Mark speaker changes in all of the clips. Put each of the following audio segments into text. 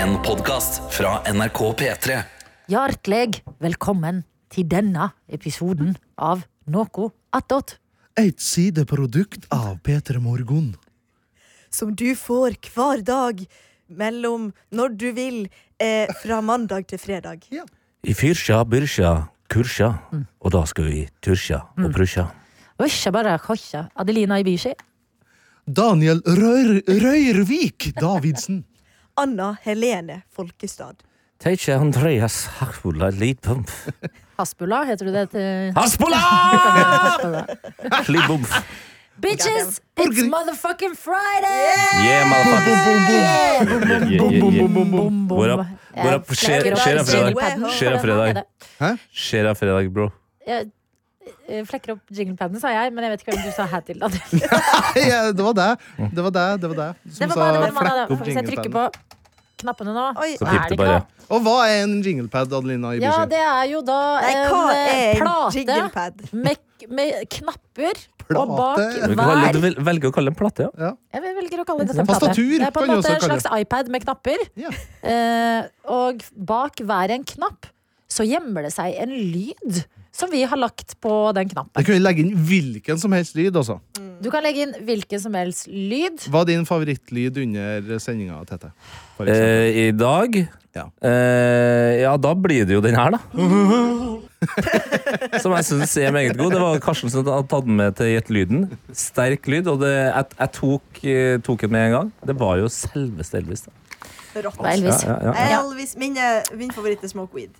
Speaker 1: En podcast fra NRK P3
Speaker 2: Hjertelig velkommen til denne episoden av Noe attåt.
Speaker 3: Et sideprodukt av P3 Morgen.
Speaker 4: som du får hver dag mellom når du vil, eh, fra mandag til fredag.
Speaker 5: I Fyrsja, Byrsja, Kursja, og da skal vi i Tursja og Prusja.
Speaker 2: Og ikke bare kosja. Adelina Ibishi.
Speaker 3: Daniel Rør Røyrvik Davidsen.
Speaker 4: Anna Helene Folkestad.
Speaker 5: Teitje Andreas Harfula Lidpump.
Speaker 2: Haspula, heter du det til
Speaker 5: Haspola! Lidpump.
Speaker 2: Bitches! It's motherfucking Friday!
Speaker 5: Yeah, motherfucker. Yeah, yeah, yeah.
Speaker 2: Bom, bom, bom.
Speaker 5: What up? What up?
Speaker 2: Jeg
Speaker 5: Skjer-
Speaker 2: flekker opp
Speaker 5: skjer av fredag.
Speaker 2: jinglepadden.
Speaker 5: Skjer av fredag.
Speaker 3: Hæ?
Speaker 5: Skjer av fredag, bro.
Speaker 2: Jeg eh, flekker opp jinglepadden, sa jeg, men jeg vet ikke hvem du sa hæ til. Adelina.
Speaker 3: Ja, det var det. Det var det. det, var det. Som
Speaker 2: Det var bare, det var
Speaker 3: sa
Speaker 2: bare,
Speaker 3: flekk
Speaker 2: det.
Speaker 3: opp
Speaker 2: Hvis jeg trykker på knappene nå
Speaker 4: Oi.
Speaker 5: Så
Speaker 2: er
Speaker 5: pipte
Speaker 2: det
Speaker 5: bare.
Speaker 2: klart.
Speaker 3: Og hva er en jinglepad, Adelina
Speaker 2: Ja,
Speaker 3: Ibishi?
Speaker 2: det er jo da
Speaker 4: Nei,
Speaker 2: en
Speaker 4: hva
Speaker 2: eh,
Speaker 4: er en
Speaker 2: plate
Speaker 4: jinglepad?
Speaker 2: med, med knapper. Og
Speaker 3: Plate?
Speaker 2: bak
Speaker 3: Du
Speaker 5: Du kan
Speaker 2: hver
Speaker 5: velge- du velger å kalle det en plate, ja.
Speaker 2: Jeg velger å kalle det en plate.
Speaker 3: Tastatur
Speaker 2: Det er på en
Speaker 3: kan du
Speaker 2: måte
Speaker 3: også
Speaker 2: en
Speaker 3: kalle
Speaker 2: slags iPad med knapper.
Speaker 3: Ja.
Speaker 2: Eh, og bak hver en knapp så gjemmer det seg en lyd som vi har lagt på den knappen.
Speaker 3: Jeg kunne legge inn hvilken som helst lyd. Også.
Speaker 2: Du kan legge inn hvilken som helst lyd.
Speaker 3: Hva er din favorittlyd under sendinga, Tete? For eksempel.
Speaker 5: Eh, I dag
Speaker 3: Ja.
Speaker 5: eh, ja, da blir det jo den her, da. Som jeg syns er meget god. Det var Karsten som hadde tatt den med til Gjett lyden. Sterk lyd. Og det, jeg, jeg tok, eh, tok den med en gang. Det var jo selveste Elvis. Da.
Speaker 4: Rått.
Speaker 2: Det var Elvis.
Speaker 5: Ja, ja, ja.
Speaker 4: Elvis, min, eh, min favoritt er Smoke Weed.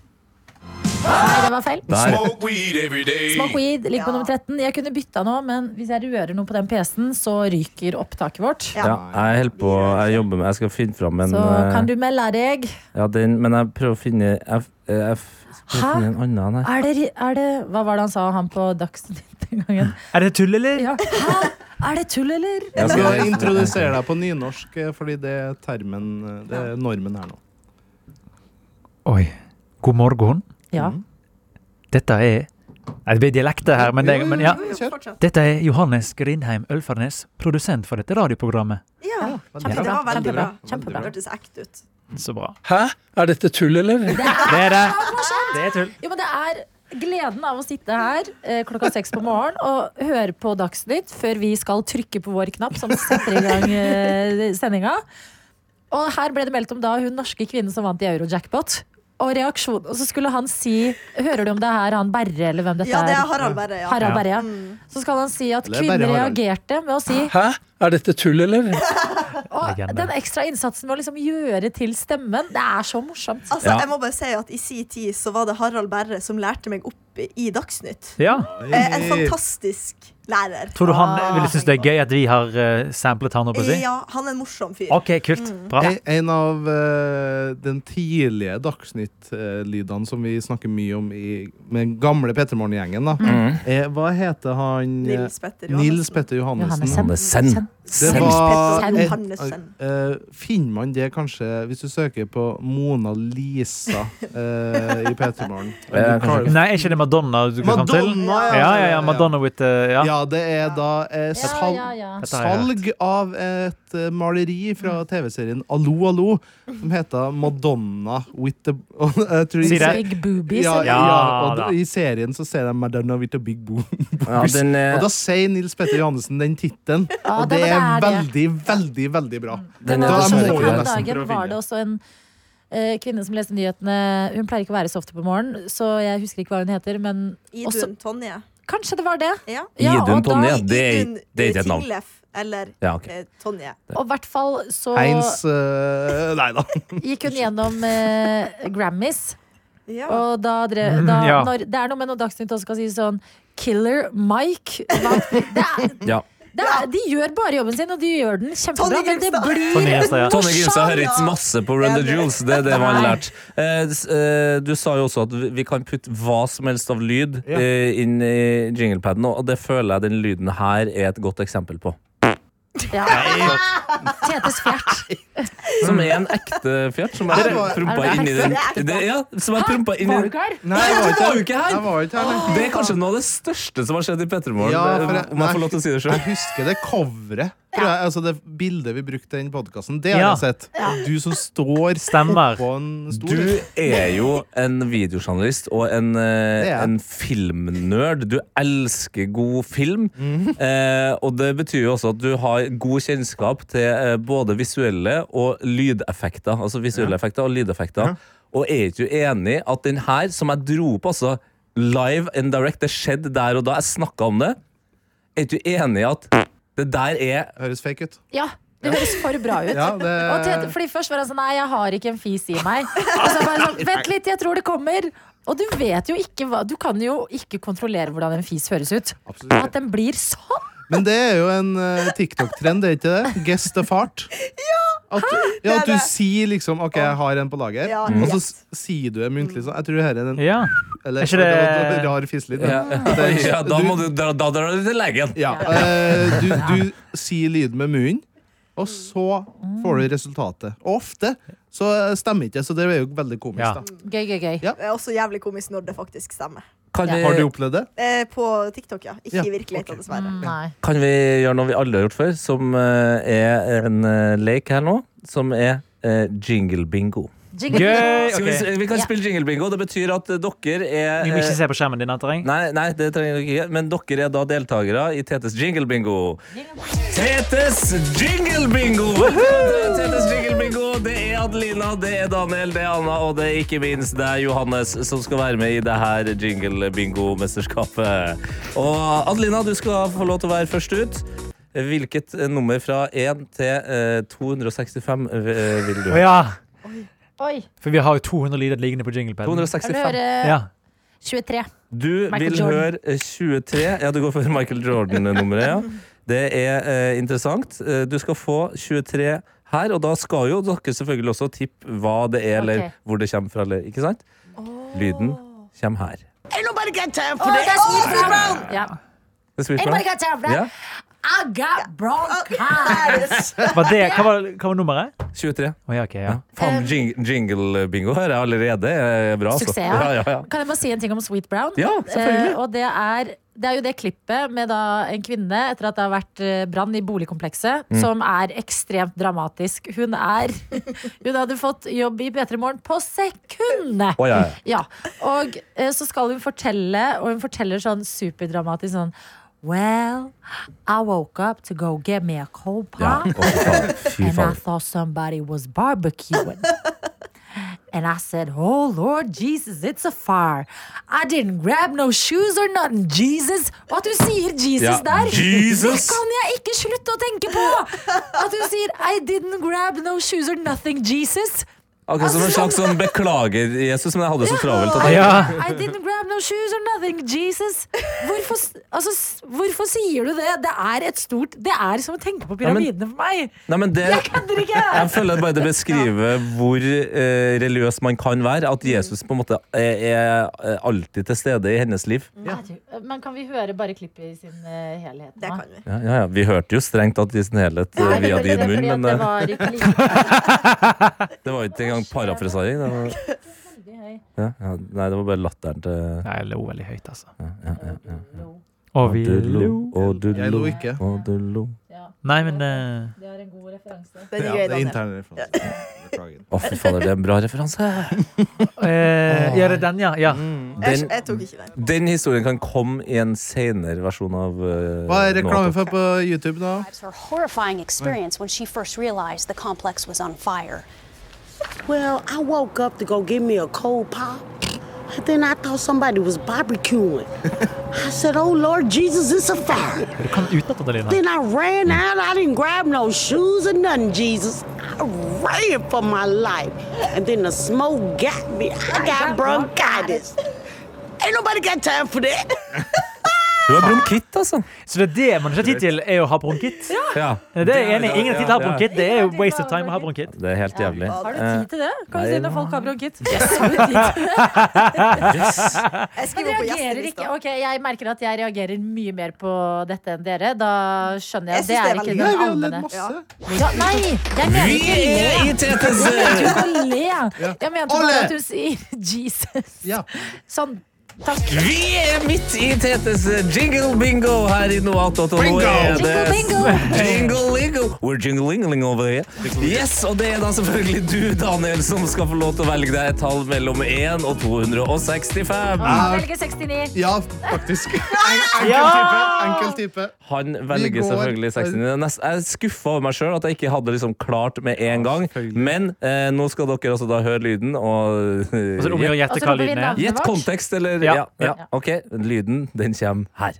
Speaker 2: Nei, det var feil.
Speaker 5: Der.
Speaker 6: Smoke weed every day.
Speaker 2: Smak weed ligger på
Speaker 4: Ja.
Speaker 2: nummer 13. Jeg kunne bytta nå, men hvis jeg rører noe på den PC-en, så ryker opptaket vårt.
Speaker 4: Ja.
Speaker 5: Ja, jeg holder på, jeg jobber med Jeg skal finne fram en
Speaker 2: Så
Speaker 5: eh,
Speaker 2: kan du melde deg.
Speaker 5: Ja, den, men jeg prøver å finne Jeg, jeg, jeg prøver
Speaker 2: Hæ?
Speaker 5: å finne en annen her.
Speaker 2: Er det, ri- er det Hva var det han sa, han på Dagsnytt den gangen?
Speaker 7: Er det tull, eller?
Speaker 2: Ja. Hæ? Er det tull, eller?
Speaker 3: Jeg
Speaker 5: skal-
Speaker 3: skal introdusere deg på nynorsk, eh, fordi det er termen eh, Det er normen her nå.
Speaker 7: Oi. God morgen.
Speaker 2: Ja.
Speaker 7: Dette er Nei, Det blir dialekter her, men, det, men ja.
Speaker 4: Jo, jo, fortsatt.
Speaker 7: Dette er Johannes Grindheim Ølfarnes, produsent for dette radioprogrammet.
Speaker 4: Ja.
Speaker 2: Kjempebra,
Speaker 4: Det var veldig
Speaker 2: kjempebra,
Speaker 4: bra.
Speaker 2: kjempebra.
Speaker 4: Det hørtes ekte ut.
Speaker 7: Så bra.
Speaker 8: Hæ? Er dette tull, eller?
Speaker 7: Det er det. Det er tull.
Speaker 2: Jo, men det er gleden av å sitte her eh, klokka seks på morgen og høre på Dagsnytt før vi skal trykke på vår knapp som setter i gang eh, sendinga. Og her ble det meldt om da hun norske kvinnen som vant i Eurojackpot. Og reaksjon, og så skulle han si Hører du om det er her han Berre, eller hvem dette
Speaker 4: Ja, det er
Speaker 2: er?
Speaker 4: Harald Berre. Ja. Mm.
Speaker 2: Harald Berre. ja. Så skal han si at
Speaker 3: Eller Berre
Speaker 2: kvinner
Speaker 3: Harald.
Speaker 2: reagerte med å si
Speaker 8: Hæ? Er dette tull, eller?
Speaker 2: Og
Speaker 7: Legende.
Speaker 2: den ekstra innsatsen med å liksom gjøre til stemmen, det er så morsomt.
Speaker 4: Altså,
Speaker 5: Ja.
Speaker 4: jeg må bare si at I sin tid så var det Harald Berre som lærte meg opp i Dagsnytt.
Speaker 7: Ja.
Speaker 4: Eh, en fantastisk lærer.
Speaker 7: Tror du han ville synes det er gøy at vi har eh, samplet han opp og si?
Speaker 4: Ja, han er en morsom fyr.
Speaker 7: OK, kult. Bra.
Speaker 3: En- En av eh, den tidlige Dagsnytt-lydene som vi snakker mye om i, med den gamle Pettermorgen-gjengen, da.
Speaker 5: Mm.
Speaker 3: Eh, hva heter han? eh,
Speaker 4: Nils Petter Johannessen.
Speaker 3: Nils Petter Johannessen.
Speaker 2: Johannessen.
Speaker 5: Han er send.
Speaker 2: Send.
Speaker 3: Det
Speaker 5: Send.
Speaker 2: Ah,
Speaker 3: var
Speaker 4: Petter
Speaker 3: et,
Speaker 4: Johannessen.
Speaker 3: eh, finner man det kanskje hvis du søker på Mona Lisa eh, i Pettermorgen?
Speaker 5: Eh, kanskje.
Speaker 7: Nei, er ikke det Madonna du går fram til?
Speaker 3: Madonna!
Speaker 7: Ja, ja, ja. Madonna with eh, Ja.
Speaker 3: Ja, det er da eh,
Speaker 2: Ja,
Speaker 3: salg
Speaker 2: ja, ja.
Speaker 7: Dette har jeg Mm.
Speaker 3: Salg av et eh, maleri fra TV-serien Allo, allo, som heter Madonna with the og jeg tror i
Speaker 7: Si det.
Speaker 3: se-
Speaker 2: Big boobies.
Speaker 3: Ja,
Speaker 2: eller?
Speaker 3: ja, og
Speaker 7: Ja, da.
Speaker 3: d- I serien så ser de Madonna with the big boom.
Speaker 5: Ja, den, eh,
Speaker 3: Og da sier Nils Petter Johannessen den tittelen,
Speaker 2: Ja,
Speaker 3: og det
Speaker 2: det
Speaker 3: er
Speaker 2: var det
Speaker 3: veldig, veldig veldig bra.
Speaker 5: Den
Speaker 2: Men
Speaker 5: er
Speaker 3: Da
Speaker 2: altså,
Speaker 5: dessverre
Speaker 3: må
Speaker 2: på
Speaker 3: vi
Speaker 5: ikke
Speaker 2: den
Speaker 3: nesten
Speaker 5: der.
Speaker 2: dagen
Speaker 3: prøve å
Speaker 2: var det
Speaker 3: finne.
Speaker 2: også en eh, kvinne som leste nyhetene. Hun pleier ikke å være så ofte på morgenen, så jeg husker ikke hva hun heter. Men også,
Speaker 4: Idun Tonje.
Speaker 2: kanskje det var det.
Speaker 4: Ja.
Speaker 2: Ja,
Speaker 5: Idun
Speaker 2: og da-
Speaker 5: Tonje, det er
Speaker 4: Idun
Speaker 5: det er ikke et navn.
Speaker 4: Tinglef eller
Speaker 5: Ja, ok.
Speaker 4: eh, Tonje.
Speaker 2: Og i hvert fall så
Speaker 3: Heinz eh, Nei da.
Speaker 2: gikk hun gjennom eh, Grammys,
Speaker 4: Ja.
Speaker 2: og da, drev,
Speaker 7: Mm,
Speaker 2: da
Speaker 7: ja.
Speaker 2: når, Det er noe med når Dagsnytt også skal si sånn Killer Mike. Hva- Det er,
Speaker 5: Ja.
Speaker 2: det er, de gjør bare jobben sin, og de gjør den kjempebra,
Speaker 4: Tonje
Speaker 2: men det
Speaker 4: Grimstad.
Speaker 7: Tonje
Speaker 2: blir
Speaker 7: Grimstad, ja.
Speaker 5: Tonje Grimstad hører ikke
Speaker 4: Ja.
Speaker 5: masse på Run the Jewels. Det er det man har lært. Eh, s- eh, Du sa jo også at vi- vi kan putte hva som helst av lyd
Speaker 3: Ja.
Speaker 5: eh, inn i jinglepaden, og det føler jeg den lyden her er et godt eksempel på.
Speaker 2: ja. Tetes fjert.
Speaker 5: Som er en ekte fjert som er
Speaker 3: Er det-
Speaker 2: er det
Speaker 5: prompa inni den.
Speaker 4: ekte?
Speaker 5: Det, ja, som er prompa inni
Speaker 2: Var du
Speaker 5: den.
Speaker 2: ikke her?
Speaker 3: Nei, jeg
Speaker 5: Du var jo ikke her!
Speaker 3: Jeg var ikke her, nei.
Speaker 5: Det er kanskje noe av det største som har skjedd i Petremorgen. Eh,
Speaker 3: Ja, for jeg-
Speaker 5: om jeg får lov til å si det
Speaker 3: Jeg
Speaker 5: sjøl.
Speaker 3: husker det coveret Tror jeg, altså det bildet vi brukte i den podkasten, det har
Speaker 7: Ja.
Speaker 3: jeg sett. Du som står
Speaker 7: Stemmer.
Speaker 3: på en stol.
Speaker 5: Du er jo en videojournalist og en, eh,
Speaker 3: Det er jeg.
Speaker 5: en filmnerd. Du elsker god film.
Speaker 3: Mhm.
Speaker 5: Eh, og det betyr jo også at du har god kjennskap til eh, både visuelle og lydeffekter. Altså visuelle effekter og lydeffekter. Og er ikke du enig at den her, som jeg dro på, altså live and direct, det skjedde der og da, jeg snakka om det. Er ikke du enig i at det der er
Speaker 3: Høres fake ut.
Speaker 2: Ja, det høres for bra ut.
Speaker 3: Ja, det,
Speaker 2: Og Tete, fordi først var han sånn Nei, jeg har ikke en fis i meg. Og så bare sånn, Vent litt, jeg tror det kommer. Og du vet jo ikke hva Du kan jo ikke kontrollere hvordan en fis høres ut.
Speaker 3: absolutt.
Speaker 2: At den blir sånn!
Speaker 3: Men det er jo en eh, TikTok-trend, det er ikke det? Guess the fart. At, du- ja, at
Speaker 4: Det er
Speaker 3: du
Speaker 4: det.
Speaker 3: sier liksom OK, jeg har en på lager,
Speaker 4: Ja,
Speaker 3: og så
Speaker 4: yes.
Speaker 3: s- sier du det muntlig sånn. Jeg tror dette er en
Speaker 7: Ja.
Speaker 3: eller,
Speaker 7: Er ikke
Speaker 3: det... var
Speaker 7: det-
Speaker 3: en rar fiselyd.
Speaker 5: Ja,
Speaker 3: men-
Speaker 5: ja da må du da, da drar du til legen.
Speaker 3: Ja, eh, du, du sier lyden med munnen, og så får du resultatet. Og ofte så eh, stemmer ikke, så det er jo veldig komisk.
Speaker 7: Ja.
Speaker 3: Da.
Speaker 2: Gøy, gøy, gøy.
Speaker 3: Ja.
Speaker 4: Det er også jævlig komisk når det faktisk stemmer.
Speaker 5: Kan
Speaker 2: Ja.
Speaker 5: vi-
Speaker 3: Har du opplevd det?
Speaker 4: Eh, på TikTok, ja. Ikke
Speaker 3: Ja,
Speaker 4: i virkeligheten, dessverre.
Speaker 2: Nei.
Speaker 5: Kan vi gjøre noe vi aldri har gjort før, som eh, er en eh, lek her nå, som er eh, jingle bingo.
Speaker 2: Jingle.
Speaker 7: Gøy!
Speaker 5: Skal vi,
Speaker 7: ok.
Speaker 5: s- vi kan
Speaker 2: Ja.
Speaker 5: spille jingle bingo. Det betyr at eh, dere er
Speaker 7: Vi må ikke
Speaker 5: eh,
Speaker 7: se på skjermen din, Terreng.
Speaker 5: Nei, nei, det trenger dere ikke. Men dere er da deltakere i Tetes jingle bingo. Tetes jingle bingo! Tetes jingle bingo. Det er Adelina, det er Daniel, det er Anna, og det er ikke minst det er Johannes som skal være med i det her jingle bingo-mesterskapet. Og Adelina, du skal få lov til å være først ut. Hvilket eh, nummer fra 1 til eh, 265 eh, vil du?
Speaker 7: Å ja!
Speaker 2: Oi.
Speaker 7: For vi har jo 200 lyder liggende på jinglepaden.
Speaker 5: 265.
Speaker 2: Kan du høre
Speaker 7: Ja.
Speaker 2: 23?
Speaker 5: Du
Speaker 2: Michael
Speaker 5: vil
Speaker 2: Jordan.
Speaker 5: høre 23. Ja, du går for Michael Jordan-nummeret, ja. Det er eh, interessant. Eh, Du skal få 23 her, og da skal jo dere selvfølgelig også tippe hva det er, eller
Speaker 2: Ok.
Speaker 5: hvor det kommer fra, eller ikke sant? Lyden kommer her.
Speaker 2: Oh, that's me, bro. Ja.
Speaker 5: Det skal vi
Speaker 2: Anybody
Speaker 5: spørre.
Speaker 2: got time for that?
Speaker 5: Ja,
Speaker 2: I got bronchitis.
Speaker 7: Var det, hva, var, hva var nummeret?
Speaker 5: 23.
Speaker 7: Å ja, ok, ja.
Speaker 5: Ja. Faen, jing jingle-bingo her er allerede eh, bra. altså.
Speaker 2: Um, Suksess, ja.
Speaker 5: Ja, ja, ja.
Speaker 2: Kan jeg bare si en ting om Sweet Brown?
Speaker 5: Ja, selvfølgelig.
Speaker 2: Eh, og det er, det er jo det klippet med da en kvinne etter at det har vært eh, brann i boligkomplekset,
Speaker 5: Mm.
Speaker 2: som er ekstremt dramatisk. Hun er Hun hadde fått jobb i P3 Morgen på sekundet!
Speaker 5: Å, ja, ja.
Speaker 2: Ja, og eh, så skal hun fortelle, og hun forteller sånn superdramatisk sånn Well, I woke up to go get me a cold
Speaker 5: ja.
Speaker 2: pie.
Speaker 5: Å, fy faen. Fy
Speaker 2: And I
Speaker 5: faen.
Speaker 2: thought somebody was barbecuing. and I said, Oh Lord Jesus, it's a fire. I didn't grab no shoes or nothing, Jesus. Og at hun sier Jesus
Speaker 5: Ja,
Speaker 2: der,
Speaker 5: Jesus.
Speaker 2: det kan jeg ikke slutte å tenke på! At hun sier I didn't grab no shoes or nothing, Jesus.
Speaker 5: Akkurat som en slags sånn beklager, Jesus, men jeg hadde det så travelt. At jeg
Speaker 7: Ja.
Speaker 2: I didn't grab no shoes or nothing, Jesus. Hvorfor, s- altså, s- hvorfor sier du det? Det er et stort Det er som å tenke på
Speaker 5: Ja, men-
Speaker 2: pyramidene for meg.
Speaker 5: Nei, men det,
Speaker 2: Jeg kødder ikke!
Speaker 5: Jeg føler at bare det beskriver hvor eh, religiøs man kan være. At Jesus på en måte er, er alltid til stede i hennes liv.
Speaker 2: Mm. Herregud. Ah, eh, Men kan vi høre bare klippet i sin eh, helhet?
Speaker 4: Det
Speaker 2: nå?
Speaker 4: kan vi.
Speaker 5: Ja, ja, ja. Vi hørte jo strengt tatt i sin helhet eh,
Speaker 2: Nei, det
Speaker 5: via
Speaker 2: var
Speaker 5: din
Speaker 2: fordi
Speaker 5: munn,
Speaker 2: at
Speaker 5: men
Speaker 2: det
Speaker 5: eh,
Speaker 2: var ikke like
Speaker 5: det var jo ikke engang parafrasering. Det var,
Speaker 2: høy.
Speaker 5: ja, ja, nei, det var bare latteren til
Speaker 7: Nei, jeg lo veldig høyt, altså.
Speaker 5: ja, ja, ja.
Speaker 7: Og vi
Speaker 5: Du lo,
Speaker 7: lo
Speaker 5: og du
Speaker 3: Jeg
Speaker 5: lo,
Speaker 3: lo ikke.
Speaker 5: og du lo.
Speaker 2: Ja,
Speaker 7: Nei, men eh,
Speaker 2: det er en god referanse.
Speaker 4: Den
Speaker 3: Ja,
Speaker 4: er gøy,
Speaker 3: det er
Speaker 4: Daniel.
Speaker 3: intern referanse. Beklager.
Speaker 5: Å, fy fader, det er en bra referanse.
Speaker 7: eh, Ja, det er den, ja. ja.
Speaker 5: Mm.
Speaker 4: Jeg,
Speaker 5: Den,
Speaker 4: jeg tok ikke den.
Speaker 5: den historien kan komme i en senere versjon av eh,
Speaker 3: Hva er reklame
Speaker 5: Noah.
Speaker 3: for på YouTube nå?
Speaker 6: describes her horrifying experience when she first realized the complex was on fire.
Speaker 9: Well, I woke up to go get me a cold pop. And then I thought somebody was barbecuing. I said, Oh Lord Jesus, it's a fire.
Speaker 7: Du kan utenat, Adelina.
Speaker 9: Then I ran out. I didn't grab no shoes or nothing, Jesus. I ran for my life. And then the smoke got me. I got bronchitis. Ain't nobody got time for that.
Speaker 5: Du har bronkitt, altså.
Speaker 7: Så det er det man ikke har tid til, er å ha bronkitt?
Speaker 5: Ja.
Speaker 7: Det er jeg enig i. Ingen har tid til å ha
Speaker 5: Ja, ja.
Speaker 7: bronkitt. Det er jo waste of time å ha bronkitt.
Speaker 5: Det er helt jævlig.
Speaker 2: Har du tid til det? Kan vi
Speaker 5: Eh, nei,
Speaker 2: si når folk har bronkitt? Yes, har du tid til det?
Speaker 4: Jeg
Speaker 2: Men
Speaker 4: skriver på
Speaker 2: reagerer ikke.
Speaker 4: gjestelista.
Speaker 2: Ok, Jeg merker at jeg reagerer mye mer på dette enn dere. Da skjønner jeg. Det
Speaker 4: Jeg synes
Speaker 2: er
Speaker 4: det er
Speaker 2: ikke
Speaker 4: veldig
Speaker 2: den
Speaker 3: Nei, vi har ledd
Speaker 2: allmenne.
Speaker 3: masse.
Speaker 2: Ja, nei, jeg mener ikke le.
Speaker 5: i Tetes
Speaker 2: Jeg mente ikke å le. Jeg mente
Speaker 3: Ole!
Speaker 2: bare at hun sier Jesus.
Speaker 3: Ja.
Speaker 2: Sånn
Speaker 5: Vi er midt i Tetes jingle bingo her i Noat.no.
Speaker 3: Bingo!
Speaker 2: Jingle bingo!
Speaker 5: Jingle-lingo! We're jingling-ling over here. Yes, og det er da selvfølgelig du, Daniel, som skal få lov til å velge deg et tall mellom 1 og 265.
Speaker 10: Ah.
Speaker 2: Han velger 69.
Speaker 3: Ja, faktisk. En, enkel type. Enkel type.
Speaker 5: Han velger
Speaker 3: går-
Speaker 5: selvfølgelig 69. Jeg er nest- Jeg er skuffa over meg sjøl at jeg ikke hadde liksom klart med en gang.
Speaker 3: selvfølgelig.
Speaker 5: Men eh, nå skal dere altså da høre lyden og
Speaker 7: Og så Altså, om å
Speaker 2: Og
Speaker 7: gjette
Speaker 2: så
Speaker 7: hva
Speaker 2: roper vi
Speaker 7: lyden er.
Speaker 2: navn.
Speaker 5: Gjett
Speaker 2: Vart.
Speaker 5: kontekst, eller
Speaker 7: Ja.
Speaker 5: ja, ja. OK, lyden, den kommer her.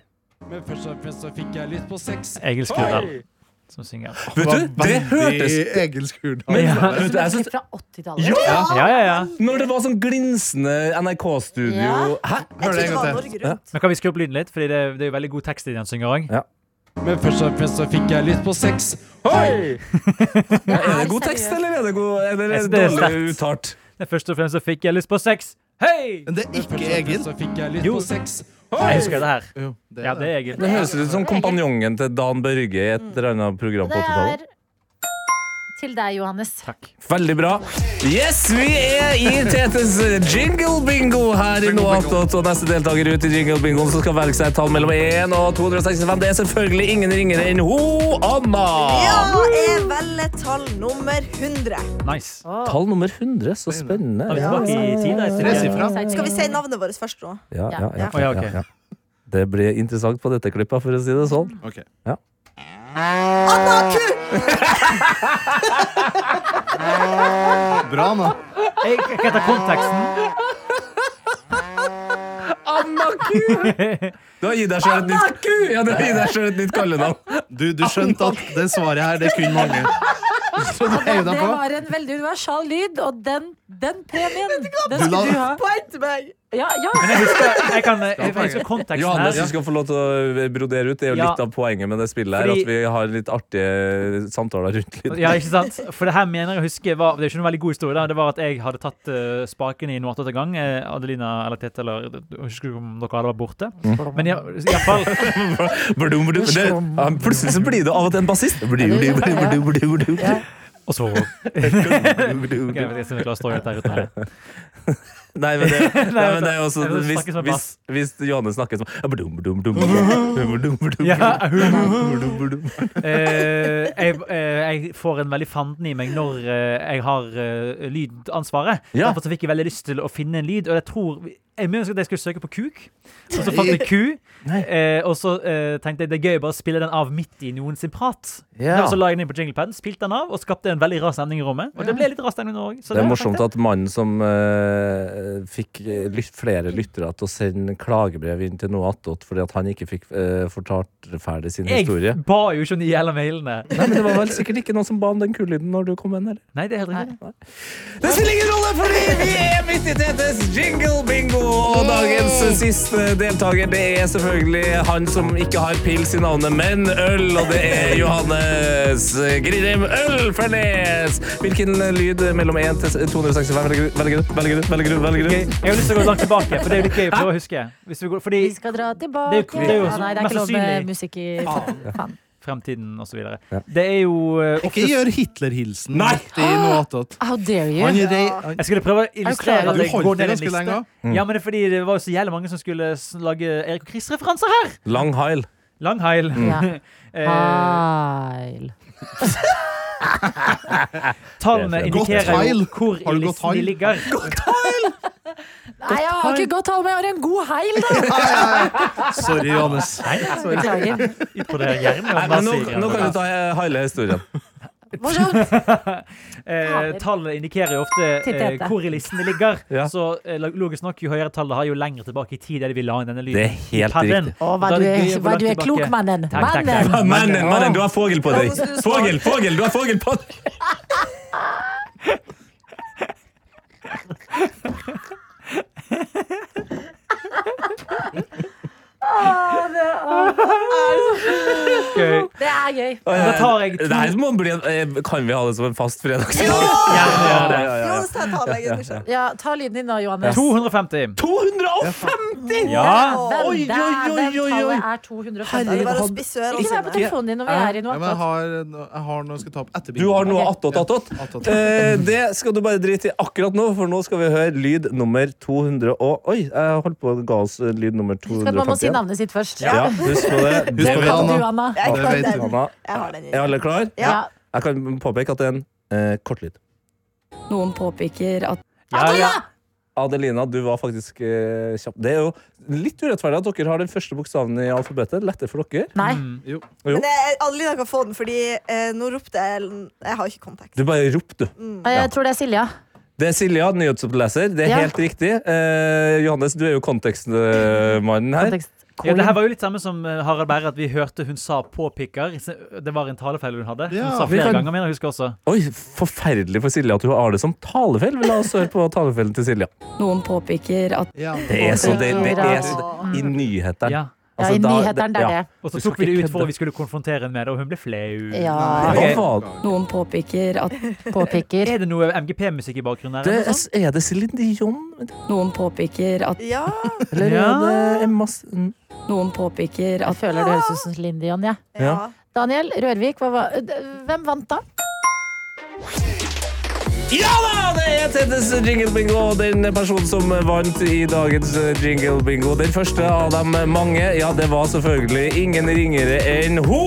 Speaker 11: Men først og fremst så fikk jeg lyst på sex.
Speaker 7: Egil Skurdal som synger.
Speaker 5: Vet du, det hørtes
Speaker 3: Veldig Egil Skurdal.
Speaker 5: men,
Speaker 7: Ja.
Speaker 5: vet du, jeg synes,
Speaker 2: Fra 80-tallet.
Speaker 7: Ja, ja, ja.
Speaker 5: Når det var sånn glinsende NRK-studio Hæ?
Speaker 4: Jeg
Speaker 3: Hør det
Speaker 4: trodde
Speaker 3: en
Speaker 4: det
Speaker 3: gang
Speaker 4: var
Speaker 3: til.
Speaker 4: Norge Rundt.
Speaker 7: Men kan vi skru opp lyden litt? Fordi det, det er jo veldig god tekst i det han synger òg.
Speaker 11: Men først og fremst så fikk jeg lyst på sex. Hoi!
Speaker 5: Er det god tekst, eller er det, god, eller
Speaker 7: Jeg
Speaker 5: er
Speaker 7: synes
Speaker 5: det
Speaker 7: det er
Speaker 5: dårlig uttalt?
Speaker 7: sterkt. Først og fremst så fikk jeg lyst på sex. Hei!
Speaker 3: Men det er
Speaker 11: Først
Speaker 3: ikke
Speaker 11: og fremst
Speaker 3: Egil.
Speaker 11: så fikk jeg lyst
Speaker 7: Jo.
Speaker 11: på sex.
Speaker 7: Jeg husker det her.
Speaker 3: Jo, det
Speaker 7: Ja, det er Egil.
Speaker 5: Det høres ut som kompanjongen til Dan Børge i et eller annet program på
Speaker 2: Det
Speaker 5: 80-tallet.
Speaker 2: er til deg, Johannes.
Speaker 5: Veldig bra. Yes, vi er i Tetes jingle bingo her i Noatot. Og neste deltaker ut i jingle bingoen som skal velge seg et tall mellom 1 og 265, det er selvfølgelig ingen ringere enn ho Anna.
Speaker 4: Ja, jeg velger tall nummer 100.
Speaker 7: Nice.
Speaker 5: Tall nummer 100. Så spennende.
Speaker 7: Da er vi tilbake i tida etter
Speaker 3: Tre
Speaker 7: det.
Speaker 3: sifra.
Speaker 4: Skal vi si navnet vårt først nå?
Speaker 5: Ja, ja, ja,
Speaker 7: Å, ja, ok.
Speaker 5: ja, ja. Det blir interessant på dette klippet, for å si det sånn.
Speaker 3: Ok.
Speaker 4: Anna Ku!
Speaker 3: Bra, nå.
Speaker 7: Jeg jeg kan ta konteksten.
Speaker 5: Du har gitt deg sjøl et nytt Ja, du har gitt deg selv et nytt kallenavn.
Speaker 3: Du, du skjønte at det svaret her, det kunne mange. Så du heiv
Speaker 2: Det
Speaker 3: deg på.
Speaker 2: var en veldig universal lyd, og den, den premien den
Speaker 3: Du la-
Speaker 2: skulle du ha.
Speaker 4: Poeng til meg!
Speaker 2: Ja, ja.
Speaker 7: Men jeg husker, jeg kan, jeg husker konteksten
Speaker 5: Johannes,
Speaker 7: her.
Speaker 5: du skal få lov til å brodere ut. Det er jo
Speaker 7: Ja.
Speaker 5: litt av poenget med det spillet her,
Speaker 7: Fordi-
Speaker 5: at vi har litt artige samtaler rundt litt.
Speaker 7: Ja, ikke sant? For det her mener jeg å huske var, Det er ikke noen veldig god historie. da Det var at jeg hadde tatt eh, spakene i noe annet til gang. eh, Adelina eller Tete eller Jeg husker ikke om dere alle var borte. Men i, i alle fall
Speaker 5: Blum, blum, det, ja, plutselig så blir det av og til en bassist. Blum, blum, blum, blum, blum, blum.
Speaker 7: Og så
Speaker 5: Blum, blum,
Speaker 7: Ok, jeg vet ikke om jeg klarer å stå helt der uten her.
Speaker 5: Nei, men det, nei, men det er jo også
Speaker 7: Jeg vil
Speaker 5: hvis,
Speaker 7: snakke som en
Speaker 5: hvis,
Speaker 7: bass.
Speaker 5: hvis Johannes snakker sånn ja, blum, blum, blum, blum, blum, blum,
Speaker 7: Ja,
Speaker 5: blum, blum, blum.
Speaker 7: Eh, jeg, eh, jeg får en veldig fanden i meg når eh, jeg har eh, lydansvaret.
Speaker 5: Ja.
Speaker 7: Derfor så fikk jeg veldig lyst til å finne en lyd. Og jeg tror Jeg mener at jeg skulle søke på kuk, og så fant jeg ku. Eh, og så eh, tenkte jeg det er gøy å bare spille den av midt i noen sin prat.
Speaker 5: Ja.
Speaker 7: Og så la jeg den inn på jinglepaden, spilte den av og skapte en veldig rar stemning i rommet. Og det ble litt rar stemning nå òg.
Speaker 5: Det er morsomt at mannen som eh, fikk eh, lyt, flere lyttere til å sende klagebrev inn til noe attåt fordi at han ikke fikk eh, fortalt ferdig sin historie.
Speaker 7: jeg ba jo ikke om de jævla mailene.
Speaker 5: Nei, men Det var vel sikkert ikke noen som ba om den kullyden når du kom inn? eller?
Speaker 7: Nei, det er helt riktig.
Speaker 5: Det spiller ingen rolle, fordi vi er midt i Tetes jingle-bingo! Og dagens siste deltaker det er selvfølgelig han som ikke har pils i navnet, men øl. Og det er Johannes Grirem Ølfernes! Hvilken lyd mellom 1 til 265 velger du? Velger du? Velger du? Velger du? Velger du?
Speaker 7: Jeg har lyst til å gå langt tilbake, for det er jo litt gøy å prøve å huske. Hvis vi går, fordi
Speaker 2: Vi skal dra tilbake.
Speaker 7: Det er jo- det er jo
Speaker 2: ja, nei, det er ikke
Speaker 7: mest
Speaker 2: lov eh, med
Speaker 7: sannsynlig.
Speaker 2: musikk i Faen.
Speaker 7: fremtiden og så videre.
Speaker 5: Ja.
Speaker 7: Det er jo eh,
Speaker 3: Ikke gjør Hitler-hilsen midt i noe attåt.
Speaker 5: Ah!
Speaker 2: How dare
Speaker 3: Han
Speaker 2: you?
Speaker 3: rei...
Speaker 7: Jeg skulle prøve å
Speaker 2: Er du
Speaker 7: illustrere
Speaker 2: klar?
Speaker 7: at
Speaker 3: Du
Speaker 7: jeg
Speaker 3: holdt
Speaker 7: går
Speaker 3: det
Speaker 7: ned en
Speaker 3: ganske
Speaker 7: liste.
Speaker 3: lenge,
Speaker 5: Mm.
Speaker 7: Ja, men det er fordi det var jo så jævlig mange som skulle s- lage Erik og Chris-referanser her!
Speaker 5: Lang heil.
Speaker 7: Lang heil.
Speaker 5: Mm.
Speaker 2: Ja. Ah.
Speaker 7: eh,
Speaker 2: Heil.
Speaker 7: tallene
Speaker 5: Godt
Speaker 7: indikerer jo
Speaker 3: heil.
Speaker 7: hvor
Speaker 3: Har
Speaker 7: i
Speaker 3: du godt
Speaker 7: listen de
Speaker 3: heil?
Speaker 7: ligger.
Speaker 2: Nei, jeg har ikke godt tall, men jeg har en god heil, da.
Speaker 3: Sorry, Johannes.
Speaker 2: altså, Beklager.
Speaker 7: Utbroderer gjerne
Speaker 5: Nei,
Speaker 7: om
Speaker 5: men nå,
Speaker 7: nazi-
Speaker 5: nå kan du ta eh, hele historien.
Speaker 2: Morsomt.
Speaker 7: Eh, tallene indikerer jo ofte
Speaker 2: Titt
Speaker 7: eh,
Speaker 2: etter.
Speaker 7: hvor i listen det ligger.
Speaker 5: Ja.
Speaker 7: Så eh, logisk nok, jo høyere tallet har, jo lenger tilbake i tid er det vi la inn denne lyden.
Speaker 5: Det er helt
Speaker 7: i padden.
Speaker 5: riktig.
Speaker 2: Å, hva
Speaker 7: Da
Speaker 2: du
Speaker 7: det
Speaker 2: er,
Speaker 7: gøy å gå
Speaker 2: hva
Speaker 7: langt
Speaker 2: du er
Speaker 7: tilbake.
Speaker 2: klok, mannen.
Speaker 7: Takk, takk, takk.
Speaker 2: Mannen.
Speaker 5: Mannen, mannen, du har fogel på deg! Fogel, fogel, du har fogel på deg!
Speaker 7: Gøy.
Speaker 2: Det er gøy.
Speaker 7: Da tar jeg to.
Speaker 5: Det her må bli en, eh, kan vi ha det som en fast fredagsdag?
Speaker 7: Gjerne gjør det.
Speaker 4: Johannes, jeg tar meg en undersøkelse.
Speaker 2: Ja, ta lyden din da, Johannes.
Speaker 7: 250.
Speaker 5: 250! 190!
Speaker 7: Ja.
Speaker 2: Oi,
Speaker 3: oi, oi, oi, oi.
Speaker 2: Tallet er 250.
Speaker 4: Det altså. er bare å
Speaker 5: hadde-
Speaker 4: spisse ørene
Speaker 2: Ikke vær på
Speaker 4: sine.
Speaker 2: telefonen din når vi er i
Speaker 3: Ja,
Speaker 2: noe
Speaker 3: men jeg
Speaker 2: attåt.
Speaker 3: har, jeg har noe jeg skal ta opp etter
Speaker 5: Du har noe attåt, attåt.
Speaker 3: Attåt.
Speaker 5: Eh, det skal du bare drite i akkurat nå, for nå skal vi høre lyd nummer 200 og Oi, jeg holdt på å ga oss lyd nummer
Speaker 2: Husk at man må si
Speaker 5: 251.
Speaker 2: navnet sitt først.
Speaker 5: Ja, husk på det. Det
Speaker 3: Husk på
Speaker 5: vet
Speaker 3: det,
Speaker 2: Du,
Speaker 5: Anna.
Speaker 2: Anna.
Speaker 4: Jeg
Speaker 3: Det
Speaker 4: kan
Speaker 3: vet
Speaker 4: den.
Speaker 5: Anna.
Speaker 4: Jeg har den i
Speaker 5: Er alle klar?
Speaker 4: Ja.
Speaker 5: Jeg kan påpeke at det er en eh, kortlyd.
Speaker 12: Noen påpeker at
Speaker 7: Ja, ja.
Speaker 5: Adelina, du var faktisk eh, kjapp. Det er jo litt urettferdig at dere har den første bokstaven i alfabetet. Lettere for dere.
Speaker 2: Nei.
Speaker 7: Mm,
Speaker 5: Jo.
Speaker 4: Men jeg, Adelina kan få den, fordi eh, nå ropte jeg Jeg har ikke kontakt.
Speaker 5: Du bare rop, du. Ja.
Speaker 2: Eh, Jeg tror det er Silja.
Speaker 5: Det er Silja, nyhetsoppleser. Det er
Speaker 2: Ja.
Speaker 5: helt riktig. Eh, Johannes, du er jo kontekstmannen her.
Speaker 2: Kontekst.
Speaker 7: Ja, det her var jo litt samme som eh, Harald Berre, at vi hørte hun sa 'påpikker'. Det var en talefeil hun hadde.
Speaker 3: Ja,
Speaker 7: hun sa
Speaker 5: vi
Speaker 7: flere
Speaker 5: kan-
Speaker 7: ganger, mener jeg husker også.
Speaker 5: Oi, forferdelig for Silja at hun har det som talefeil. La oss høre på talefeilen til Silja.
Speaker 12: Noen påpeker at
Speaker 3: Ja.
Speaker 5: Det er så det, det er så I nyhetene. Altså,
Speaker 7: Ja.
Speaker 2: Ja, I nyhetene, det er det.
Speaker 7: Og så
Speaker 5: Du skal
Speaker 7: tok vi det
Speaker 5: ikke
Speaker 7: ut for
Speaker 5: kødde.
Speaker 7: at vi skulle konfrontere henne med det, og hun ble flau.
Speaker 2: Ja.
Speaker 5: Ah, Hva
Speaker 7: Ok.
Speaker 5: var det?
Speaker 12: Noen påpeker at
Speaker 2: Påpeker.
Speaker 7: Er det noe MGP-musikk i bakgrunnen her?
Speaker 5: Det
Speaker 7: eller noe
Speaker 5: er,
Speaker 7: sånt?
Speaker 5: er det Céline Dion?
Speaker 12: Noen påpeker at
Speaker 4: Ja,
Speaker 5: Eller
Speaker 7: Ja.
Speaker 5: er det Emma S- mm.
Speaker 12: Noen påpeker
Speaker 2: Jeg
Speaker 12: at
Speaker 2: føler det høres ut som Celine Dion, jeg.
Speaker 4: ja.
Speaker 2: Daniel Rørvik, hva var, eh, d- hvem vant da?
Speaker 5: Ja da! Det er Tettes Jingle Bingo, og den personen som vant i dagens Jingle Bingo. Den første av de mange. Ja, det var selvfølgelig ingen ringere enn ho...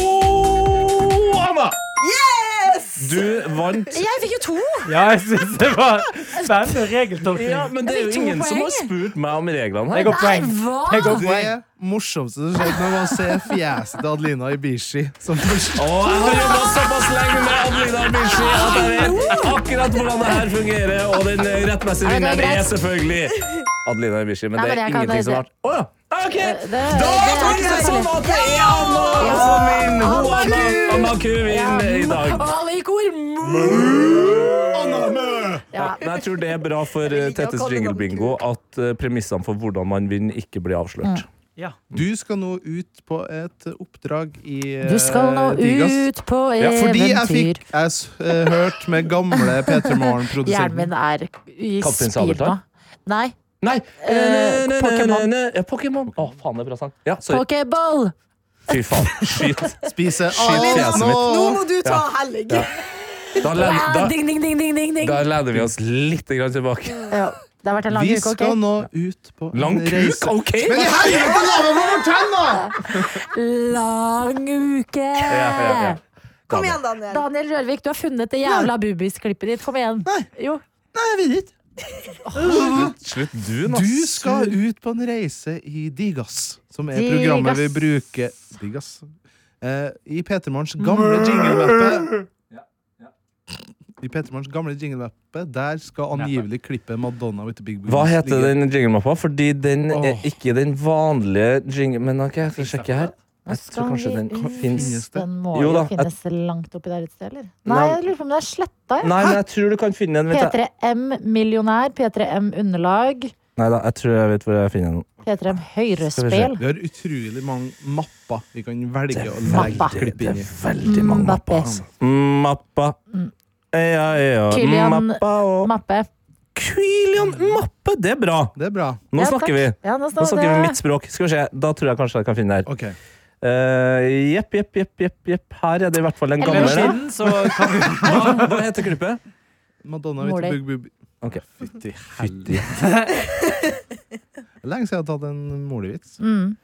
Speaker 5: Anna!
Speaker 4: Yes!
Speaker 5: Du vant.
Speaker 2: Jeg fikk jo to!
Speaker 7: Ja, jeg synes det var spennende regeltolkning.
Speaker 5: Ja, men det er jo
Speaker 2: to
Speaker 5: ingen som
Speaker 2: poeng.
Speaker 5: har spurt meg om reglene
Speaker 7: Jeg
Speaker 5: her.
Speaker 7: går poeng.
Speaker 2: Hva?
Speaker 3: Det morsomste som skjedde, var å se fjeset til Adelina Ibishi. Som
Speaker 5: Og jeg har jobbet såpass lenge med Adelina Bishi at jeg vet akkurat hvordan det her fungerer. Og den rettmessige
Speaker 2: Nei, det er
Speaker 5: vinneren er
Speaker 2: greit.
Speaker 5: selvfølgelig Adelina Bishi. Men det
Speaker 2: Nei, men
Speaker 5: er
Speaker 2: jeg kan
Speaker 5: ingenting som
Speaker 2: det.
Speaker 5: har vært Å ja! OK!
Speaker 2: Det-
Speaker 5: Da
Speaker 2: det er
Speaker 5: tar vi det
Speaker 2: ikke så
Speaker 5: sånn
Speaker 2: ille.
Speaker 5: at det er Anna som vinner! Hun Anna, Anna Ku vinner i dag.
Speaker 2: mm.
Speaker 5: Ja, men jeg tror det er bra for eh,
Speaker 4: liker å
Speaker 5: Tettes
Speaker 4: kalle det
Speaker 5: jinglebingo at eh, premissene for hvordan man vinner, ikke blir
Speaker 2: Mm.
Speaker 5: avslørt.
Speaker 7: Ja.
Speaker 3: Du skal nå ut på et oppdrag i
Speaker 2: Du skal nå
Speaker 3: eh, Digas.
Speaker 2: ut på
Speaker 3: Ja, fordi jeg
Speaker 2: eventyr.
Speaker 3: fikk jeg s- eh, hørt med gamle P3
Speaker 2: Hjernen
Speaker 3: Morgen-produsenten.
Speaker 2: min er i
Speaker 5: Kaptein
Speaker 2: speed nå.
Speaker 5: Sabeltann?
Speaker 2: Nei.
Speaker 5: Nei!
Speaker 2: Eh,
Speaker 5: ne, ne, ne,
Speaker 2: Pokémon.
Speaker 5: ne, ne. Ja, Pokémon. Å, faen, det er bra sang. Ja, sorry.
Speaker 2: Pokéball!
Speaker 5: Fy faen. Skyt.
Speaker 3: Spise
Speaker 5: Adelina,
Speaker 3: alt
Speaker 4: Nå
Speaker 3: nå!
Speaker 4: må du ta helg.
Speaker 5: Da, len, da,
Speaker 2: Ah, ding, ding, ding, ding, ding, ding.
Speaker 5: Da lener vi oss litt grann tilbake.
Speaker 2: Ja, det har vært en lang
Speaker 3: Vi
Speaker 2: uke, ok?
Speaker 3: skal nå ut på
Speaker 5: Lang
Speaker 3: en
Speaker 5: kuk,
Speaker 3: reise.
Speaker 5: OK?
Speaker 3: Men i helvete, la meg få fortelle, da!
Speaker 2: Lang uke!
Speaker 5: ja,
Speaker 4: Kom igjen, Daniel.
Speaker 2: Daniel Rørvik, du har funnet det jævla boobies-klippet ditt. Kom igjen. Jo.
Speaker 3: Nei, jeg vet ikke.
Speaker 5: Slutt du, nå.
Speaker 3: Du skal ut på en reise i Digas, som er
Speaker 2: Digas.
Speaker 3: programmet vi bruker Digas. Eh, I P3 Morgens gamle jinglemappe I P3 Morgens gamle jinglemappe Der skal angivelig klippet Madonna with the Big Boobies
Speaker 5: Hva heter
Speaker 3: ligge.
Speaker 5: den jinglemappa? Fordi den er
Speaker 3: Åh.
Speaker 5: ikke den vanlige jingle... Men ok, jeg skal sjekke her. Jeg tror
Speaker 2: Skal
Speaker 5: kanskje
Speaker 2: vi
Speaker 5: den
Speaker 2: ut?
Speaker 5: fins
Speaker 2: Den må
Speaker 5: Jo
Speaker 2: jo
Speaker 5: da,
Speaker 2: finnes langt oppi der et sted, eller? Nei,
Speaker 5: Nei.
Speaker 2: jeg lurer på om den er sletta.
Speaker 5: Nei, men jeg tror du kan finne den. Vent, jeg.
Speaker 2: P3M millionær, P3M underlag,
Speaker 5: Neida, jeg tror jeg vet hvor jeg finner den. Skal
Speaker 2: P3M
Speaker 5: vi se.
Speaker 2: høyrespel.
Speaker 3: Vi har utrolig mange mapper vi kan velge å legge
Speaker 2: Mappa.
Speaker 3: klipp
Speaker 5: Det
Speaker 3: inn i.
Speaker 5: er veldig mange mapper.
Speaker 2: Mbappé.
Speaker 5: altså. Mappa. Ja, ja, ja.
Speaker 2: Kylian-
Speaker 5: Mappa og
Speaker 2: Mappe.
Speaker 5: Kylian Mappe! Det er bra!
Speaker 3: Det er bra.
Speaker 5: Nå
Speaker 2: Ja, takk.
Speaker 5: snakker vi.
Speaker 2: Ja, nå
Speaker 5: Nå
Speaker 2: står
Speaker 5: snakker vi
Speaker 2: det-
Speaker 5: mitt språk. Skal vi se, Da tror jeg kanskje jeg kan finne det her.
Speaker 3: Ok.
Speaker 5: Eh, Jepp, jepp, jepp, jepp, jepp. Her er det i hvert fall en
Speaker 7: Mellom
Speaker 5: gammel en.
Speaker 7: siden så kan vi
Speaker 5: Hva hva heter klippet?
Speaker 3: Madonna with the
Speaker 2: Måløy.
Speaker 3: Big Boobies.
Speaker 5: Ok.
Speaker 3: Fytti helvete. Lenge siden jeg har tatt en molevits.
Speaker 2: Mm.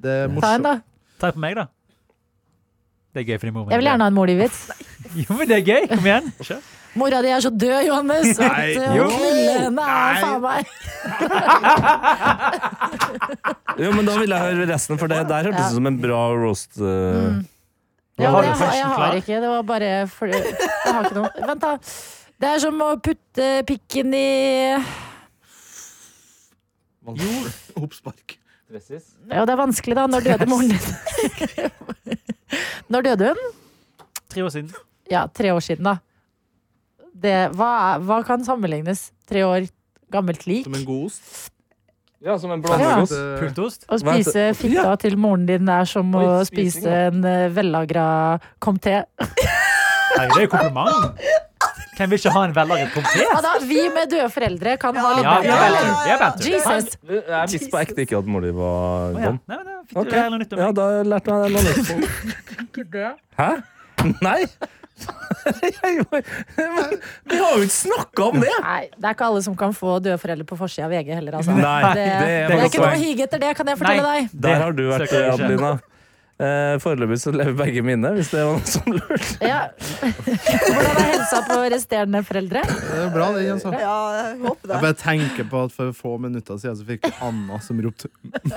Speaker 3: Det er
Speaker 2: Ta en,
Speaker 3: morsomt.
Speaker 2: da.
Speaker 7: Ta på meg, da. Det er gøy fordi mor min
Speaker 2: Jeg vil gjerne ha en morlivvits.
Speaker 7: Jo, men det er gøy. Kom igjen. Kjør.
Speaker 2: Mora di er så død, Johannes, at
Speaker 3: Nei.
Speaker 2: eh,
Speaker 3: Jo.
Speaker 2: å knulle henne er
Speaker 3: Nei.
Speaker 2: faen meg
Speaker 5: Jo, men Da vil jeg høre resten, for det der hørtes ut som en bra roast. eh.
Speaker 7: Mm.
Speaker 2: ja, men
Speaker 7: Har du
Speaker 2: jeg, har- jeg
Speaker 7: festen
Speaker 2: har
Speaker 7: klar?
Speaker 2: ikke. Det var bare fordi Jeg har ikke noe. Vent, da. Det er som å putte pikken i
Speaker 3: Hoppspark.
Speaker 2: Ja, det er vanskelig, da. Når døde moren din? Når døde hun?
Speaker 7: Tre år siden.
Speaker 2: Ja, tre år siden, da. Det, hva, er- hva kan sammenlignes? Tre år gammelt lik?
Speaker 3: Som en god ost.
Speaker 5: Ja, som en
Speaker 2: Ja.
Speaker 5: blandegoss.
Speaker 3: Eh,
Speaker 7: Pultost.
Speaker 2: Å spise
Speaker 5: Vent,
Speaker 2: fitta til moren din er som å
Speaker 5: Oi, spising,
Speaker 2: spise en eh, vellagra comté.
Speaker 7: Nei, det er jo kompliment. Hvem vil ikke ha en vellaget pomfret?
Speaker 2: Ja, da, vi med døde foreldre kan ha litt
Speaker 7: Ja, vi er
Speaker 2: bedre.
Speaker 7: banter. Vi er banter.
Speaker 2: Jesus.
Speaker 5: Jeg visste på ekte ikke at mor di var
Speaker 7: Å, ja.
Speaker 5: dom.
Speaker 7: Nei, men det er fint.
Speaker 5: Ok.
Speaker 7: Du lærer noe nytt om
Speaker 5: Ja,
Speaker 7: meg.
Speaker 5: da lærte jeg noe nytt. Hæ? Nei! Jeg var- men Vi har jo ikke snakka om det!
Speaker 2: Nei, det er ikke alle som kan få døde foreldre på forsida av VG heller. Altså.
Speaker 5: Nei,
Speaker 2: det,
Speaker 5: det er
Speaker 2: det, er
Speaker 5: faktisk
Speaker 2: ikke noe å
Speaker 5: poeng.
Speaker 2: hige etter det, kan jeg fortelle
Speaker 7: Nei.
Speaker 2: deg.
Speaker 5: Der har du vært,
Speaker 7: søker jeg ikke.
Speaker 5: Adelina. Eh, Foreløpig så lever begge mine, hvis det var noe som lurte.
Speaker 2: Ja. Hvordan er helsa på resterende foreldre?
Speaker 3: Det er bra, det, Jens. Jeg
Speaker 4: Ja, jeg håper det.
Speaker 3: bare tenker på at for få minutter siden så fikk jeg Anna som ropte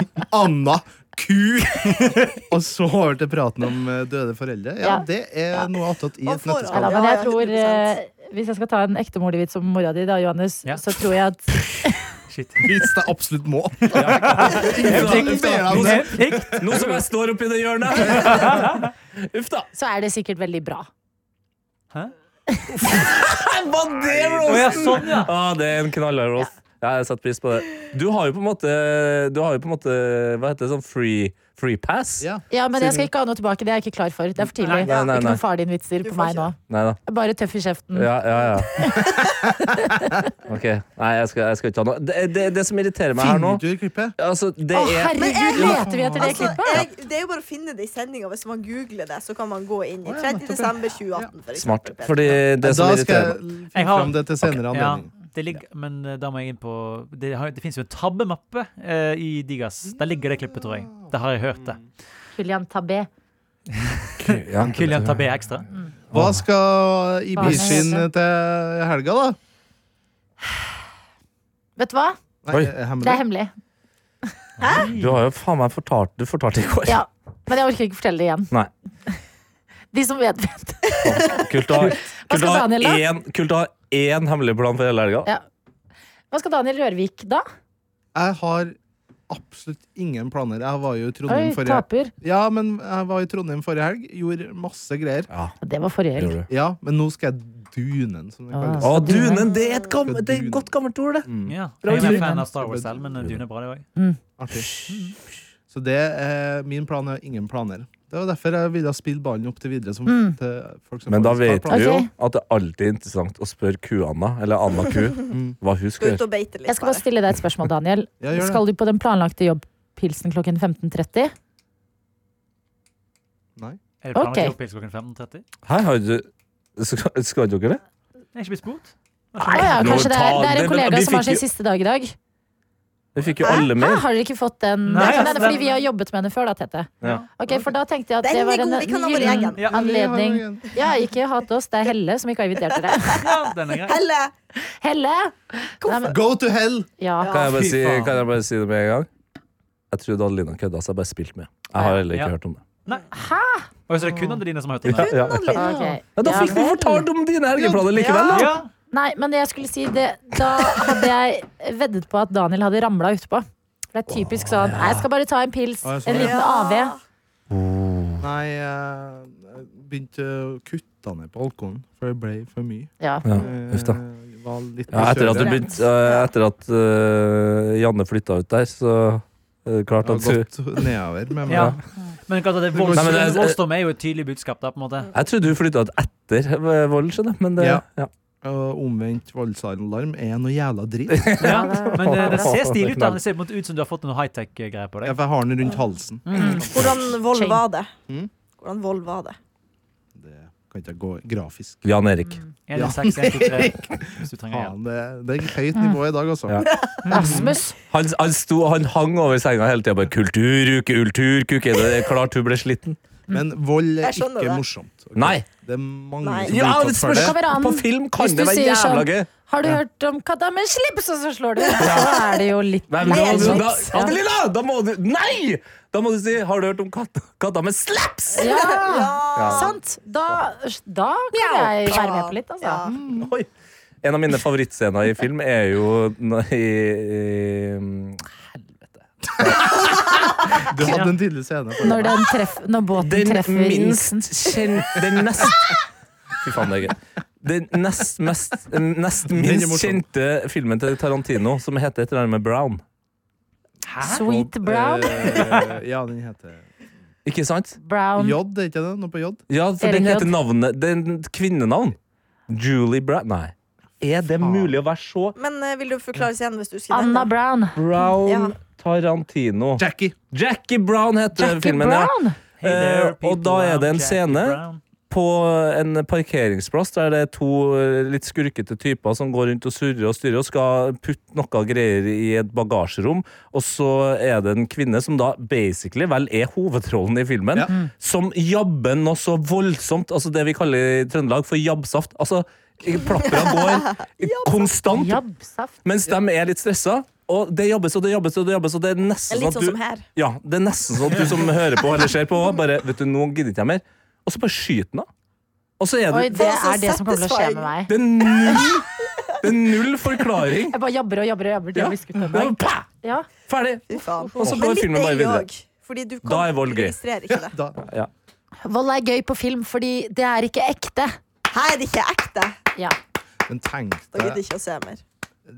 Speaker 3: Anna! Ku! Og så over til praten om eh, døde foreldre. Ja,
Speaker 2: Ja.
Speaker 3: det er noe attåt i
Speaker 4: Og
Speaker 3: et nøtteskall.
Speaker 2: Nei da,
Speaker 4: Ja,
Speaker 2: men jeg
Speaker 4: ja,
Speaker 2: tror
Speaker 4: 100%.
Speaker 2: eh, Hvis jeg skal ta en ekte morlig-vits om mora di, da, Johannes,
Speaker 7: Ja.
Speaker 2: så tror jeg at
Speaker 7: Shit.
Speaker 3: Hvis jeg absolutt må. Ingen ber om det.
Speaker 7: Plikt.
Speaker 5: Nå som jeg står oppi det hjørnet! Uff da.
Speaker 2: så er det sikkert veldig bra.
Speaker 5: Hva det,
Speaker 7: Å, ja, sånn, ja.
Speaker 5: Ah, det er en knaller, Rolf. Ja, jeg setter pris på det. Du har jo på en måte, du har jo på en måte hva heter det, sånn free, free pass?
Speaker 3: Ja.
Speaker 2: Ja, men jeg skal ikke ha noe tilbake. Det er jeg ikke klar for. Det er for
Speaker 5: Nei,
Speaker 2: tidlig.
Speaker 5: nei, nei,
Speaker 2: Ikke
Speaker 5: nei.
Speaker 2: noen far din-vitser
Speaker 4: Du
Speaker 2: på
Speaker 4: får
Speaker 2: meg
Speaker 4: ikke
Speaker 2: nå.
Speaker 5: Nei da.
Speaker 2: Bare tøff i kjeften.
Speaker 5: Ja, ja, ja. OK. Nei, jeg skal, jeg skal ikke ta noe. Det, det, det som irriterer meg her nå
Speaker 3: Finner du i klippet?
Speaker 5: altså, det
Speaker 2: Å,
Speaker 5: er,
Speaker 2: herregud, leter vi etter det
Speaker 4: Altså,
Speaker 2: klippet?
Speaker 4: jeg, det er jo bare å finne det i sendinga. Hvis man googler det, så kan man gå inn i 30. desember 2018. For
Speaker 5: Smart.
Speaker 4: eksempel.
Speaker 5: Fordi
Speaker 3: Da
Speaker 5: det som
Speaker 3: skal jeg
Speaker 5: irriterer meg
Speaker 3: finne
Speaker 7: Jeg har-
Speaker 3: fram det til senere
Speaker 7: Ja,
Speaker 3: anledning.
Speaker 7: det ligger, men eh, da må jeg inn på Det, har, det finnes jo en tabbemappe eh, i Digas. Der ligger det klippet, tror jeg. Det har jeg hørt, det.
Speaker 2: Julian Tabé.
Speaker 5: ja.
Speaker 7: Kyllian Tabé ekstra.
Speaker 3: Hva skal Ibishin
Speaker 2: Hva
Speaker 3: til helga, da?
Speaker 2: Vet du hva?
Speaker 3: Nei,
Speaker 5: Oi.
Speaker 3: er det
Speaker 2: Det er
Speaker 3: hemmelig.
Speaker 2: hemmelig.
Speaker 5: Du har jo faen meg fortalt Du fortalte i går.
Speaker 2: Ja. Men jeg orker ikke fortelle det igjen.
Speaker 5: Nei.
Speaker 2: De som vet, vet.
Speaker 5: Kult å ha-
Speaker 2: Hva
Speaker 5: kult å
Speaker 2: skal
Speaker 5: ha
Speaker 2: Daniel, da?
Speaker 5: én- kult å ha én hemmelig plan for hele helga.
Speaker 2: Ja. Hva skal Daniel Rørvik da?
Speaker 3: Jeg har absolutt ingen planer. Jeg var jo i
Speaker 2: Oi,
Speaker 3: Trondheim forrige
Speaker 2: taper.
Speaker 3: Ja, men jeg var i Trondheim forrige helg. Gjorde masse greier.
Speaker 2: Det var forrige helg.
Speaker 5: Gjorde du.
Speaker 3: Ja, men nå skal jeg dunen, som det Mm, kalles.
Speaker 5: Å,
Speaker 2: Altså,
Speaker 5: Dunen! Det er et, gammel, det er et godt gammelt ord, det.
Speaker 7: Ja.
Speaker 5: Bra,
Speaker 7: Jeg er mer
Speaker 5: Kyllian.
Speaker 7: fan av Star Wars selv, men eh, Dune er bra, det òg.
Speaker 3: Artig. Så det er min plan er ingen planer. Det var derfor jeg ville spille ballen opp til videre. Som, til folk som
Speaker 5: Men da
Speaker 3: faktisk har
Speaker 5: vet
Speaker 3: planer.
Speaker 5: du jo
Speaker 2: Ok.
Speaker 5: at det er alltid er interessant å spørre ku-Anna, eller Anna ku, hva hun skal
Speaker 4: Gå ut
Speaker 5: gjøre.
Speaker 4: og beite litt.
Speaker 2: Jeg skal bare
Speaker 4: bare.
Speaker 2: stille deg et spørsmål, Daniel.
Speaker 3: Mm. Ja, gjør det.
Speaker 2: Skal du på den planlagte jobbpilsen klokken 15.30?
Speaker 3: Nei.
Speaker 7: Er det planlagt
Speaker 2: Ok.
Speaker 7: jobbpils klokken 15.30?
Speaker 5: Hei, har du skal, skal dere det?
Speaker 7: Jeg er ikke blitt spurt.
Speaker 2: Nei, ja,
Speaker 5: Nå
Speaker 2: kanskje det er,
Speaker 5: ta-
Speaker 2: det er
Speaker 5: det-
Speaker 2: en kollega
Speaker 5: vi
Speaker 2: som har
Speaker 5: fikk
Speaker 2: sin
Speaker 5: jo-
Speaker 2: siste dag i dag.
Speaker 5: Vi fikk jo alle
Speaker 2: Hæ,
Speaker 5: med.
Speaker 2: har dere ikke fått den?
Speaker 7: Nei,
Speaker 2: det kan
Speaker 7: altså,
Speaker 2: hende fordi
Speaker 7: den-
Speaker 2: vi har jobbet med henne før, da, Tete.
Speaker 5: Ja.
Speaker 2: Ok, For da tenkte jeg at
Speaker 4: Den
Speaker 2: det
Speaker 4: er
Speaker 2: var en
Speaker 4: god, vi kan ha vår
Speaker 2: gyllen
Speaker 4: egen.
Speaker 7: Ja.
Speaker 2: anledning.
Speaker 3: Ja,
Speaker 2: Ja, ikke hat oss, det er Helle som ikke har invitert dere.
Speaker 7: Ja, den er grei.
Speaker 4: Helle!
Speaker 2: Helle! Nei, men,
Speaker 3: Go to hell!
Speaker 2: ja.
Speaker 5: Kan jeg bare
Speaker 7: Fy
Speaker 5: si,
Speaker 7: faen.
Speaker 5: kan jeg bare si det med en gang? Jeg trodde Adelina kødda, så jeg bare spilte med. Jeg har heller
Speaker 7: Ja.
Speaker 5: ikke hørt om det.
Speaker 7: Og så er det kun Adeline som har hørt om
Speaker 5: Ja,
Speaker 7: det.
Speaker 5: ja, ja.
Speaker 4: Adeline.
Speaker 2: Ok.
Speaker 5: Ja, da
Speaker 2: Ja,
Speaker 5: fikk vi
Speaker 2: vel.
Speaker 5: fortalt om dine helgeplaner likevel, da!
Speaker 7: Ja.
Speaker 2: Nei, men jeg skulle si det Da hadde jeg veddet på at Daniel hadde ramla utpå. For det er typisk sånn. «Nei, Jeg skal bare ta en pils.
Speaker 3: Ja, sånn,
Speaker 2: En liten
Speaker 4: ja.
Speaker 2: AV.
Speaker 3: Nei, jeg begynte å kutte ned på alkoholen, for det ble for mye.
Speaker 2: Ja.
Speaker 5: Ja, uff da.
Speaker 3: Eh, var litt
Speaker 5: Ja, etter at, du
Speaker 3: kjøligere.
Speaker 5: begynte, eh, etter at eh, Janne flytta ut der, så er det klart
Speaker 3: Jeg
Speaker 5: at du
Speaker 3: har gått nedover med meg.
Speaker 7: Ja. Men klart at det volds-
Speaker 5: Nei, men det er-
Speaker 7: voldsdom er jo et tydelig budskap, da, på en måte.
Speaker 5: Jeg trodde du flytta ut etter eh, volden, skjønner jeg, men det
Speaker 3: Ja.
Speaker 5: ja.
Speaker 3: Og omvendt voldsalarm er noe jævla dritt. Ja,
Speaker 7: Ja. Men eh, den ser
Speaker 5: Ja.
Speaker 7: stilig ut. da. Det ser på en måte ut som du har fått noe high-tech-greier på deg.
Speaker 3: for
Speaker 7: Mm.
Speaker 3: jeg har den rundt halsen.
Speaker 4: Hvordan vold
Speaker 2: Shame.
Speaker 4: var det?
Speaker 3: Mm.
Speaker 4: Hvordan vold var det?
Speaker 3: Det kan ikke jeg gå grafisk.
Speaker 5: Jan Erik.
Speaker 7: 1, 6, 1, 2, 3, hvis du trenger Mm. hjelp.
Speaker 3: Faen, det, det er høyt nivå i dag, altså.
Speaker 5: Ja.
Speaker 2: Rasmus.
Speaker 5: Han, han, sto, han hang over senga hele tida. bare, Kulturuke, kulturkuke. Det er klart hun ble sliten.
Speaker 3: Men vold er
Speaker 4: Jeg skjønner
Speaker 3: ikke
Speaker 4: det.
Speaker 3: morsomt. ok?
Speaker 5: Nei!
Speaker 3: Det er mange
Speaker 4: Nei.
Speaker 3: som blir utsatt for det.
Speaker 2: Kommer an.
Speaker 5: På film kan
Speaker 2: Hvis
Speaker 5: det
Speaker 2: du
Speaker 5: være
Speaker 2: sier
Speaker 5: jævla
Speaker 2: sånn-
Speaker 5: gøy.
Speaker 2: Har du hørt om katta med slips, og så slår du? Så er det jo litt
Speaker 5: Nei, men da,
Speaker 4: Lese
Speaker 5: da,
Speaker 2: litt,
Speaker 5: da,
Speaker 2: ja.
Speaker 5: Adelina! Da må du Nei! Da må du si 'Har du hørt om katta, katta med slaps?'
Speaker 2: Ja,
Speaker 4: Ja.
Speaker 2: sant. Da, da kan jeg være med på litt, altså.
Speaker 4: Ja.
Speaker 5: Oi. En av mine favorittscener i film er jo når- i, i
Speaker 3: Du hadde en tydelig scene. for
Speaker 2: Når,
Speaker 3: det.
Speaker 2: den treff, når båten
Speaker 5: Den
Speaker 2: treffer
Speaker 5: minst
Speaker 2: isen.
Speaker 5: kjent Den nest Fy faen, det er gøy. Den nest, mest, nest minst
Speaker 3: morsom.
Speaker 5: kjente filmen til Tarantino, som heter et eller annet med Brown.
Speaker 2: Sweet brown.
Speaker 3: Eh, ja, den heter
Speaker 5: Ikke sant?
Speaker 2: brown.
Speaker 3: J, er ikke det? Noe på J?
Speaker 5: Ja, for
Speaker 2: Erik
Speaker 5: den
Speaker 2: J.
Speaker 5: heter navnet Det er en kvinnenavn. Julie Brown Nei. Er det mulig å være så
Speaker 4: Men eh, vil du forklare igjen hvis du husker den,
Speaker 10: Anna
Speaker 4: da?
Speaker 10: Brown.
Speaker 5: Brown
Speaker 4: Ja.
Speaker 5: Tarantino?
Speaker 3: Jackie.
Speaker 5: Jackie Brown heter
Speaker 10: Jackie
Speaker 5: filmen,
Speaker 10: Brown?
Speaker 5: ja. Eh, og da er det en scene på en parkeringsplass der det er to eh, litt skurkete typer som går rundt og surrer og styrer og skal putte noe greier i et bagasjerom. Og så er det en kvinne som da basically vel er hovedrollen i filmen,
Speaker 3: Ja.
Speaker 5: som jabber noe så voldsomt, altså det vi kaller i Trøndelag for jabbsaft. Altså, plapper av går konstant,
Speaker 10: Jabbsaft.
Speaker 5: mens de er litt stressa. Og det jobbes og det jobbes, og det jobbes, og det er
Speaker 4: Det
Speaker 5: nesten
Speaker 4: er
Speaker 5: sånn
Speaker 4: litt sånn
Speaker 5: at du
Speaker 4: som her.
Speaker 5: ja, det er nesten sånn at du som hører på eller ser på, bare vet du, nå gidder ikke jeg mer. Og så bare skyter den av. Og så er
Speaker 10: Oi,
Speaker 5: det,
Speaker 10: det er det som kommer til å skje med meg.
Speaker 5: det er null, det er null forklaring.
Speaker 10: Jeg bare jabber og jabber og jabber. til
Speaker 5: Ja.
Speaker 10: jeg blir skutt en
Speaker 5: Ja,
Speaker 10: dag.
Speaker 5: pah!
Speaker 10: Ja.
Speaker 5: Ferdig.
Speaker 4: Fy faen.
Speaker 5: Og så
Speaker 4: Men
Speaker 5: går
Speaker 4: litt
Speaker 5: filmen bare
Speaker 4: gøy
Speaker 5: videre.
Speaker 4: også, Fordi du
Speaker 5: Da er vold gøy.
Speaker 4: registrerer ikke det.
Speaker 3: Da.
Speaker 10: Vold er gøy på film fordi det er ikke ekte.
Speaker 4: Her er det ikke ekte.
Speaker 10: Ja.
Speaker 3: Men tenk
Speaker 4: Da gidder
Speaker 3: deg
Speaker 4: jeg ikke å se mer.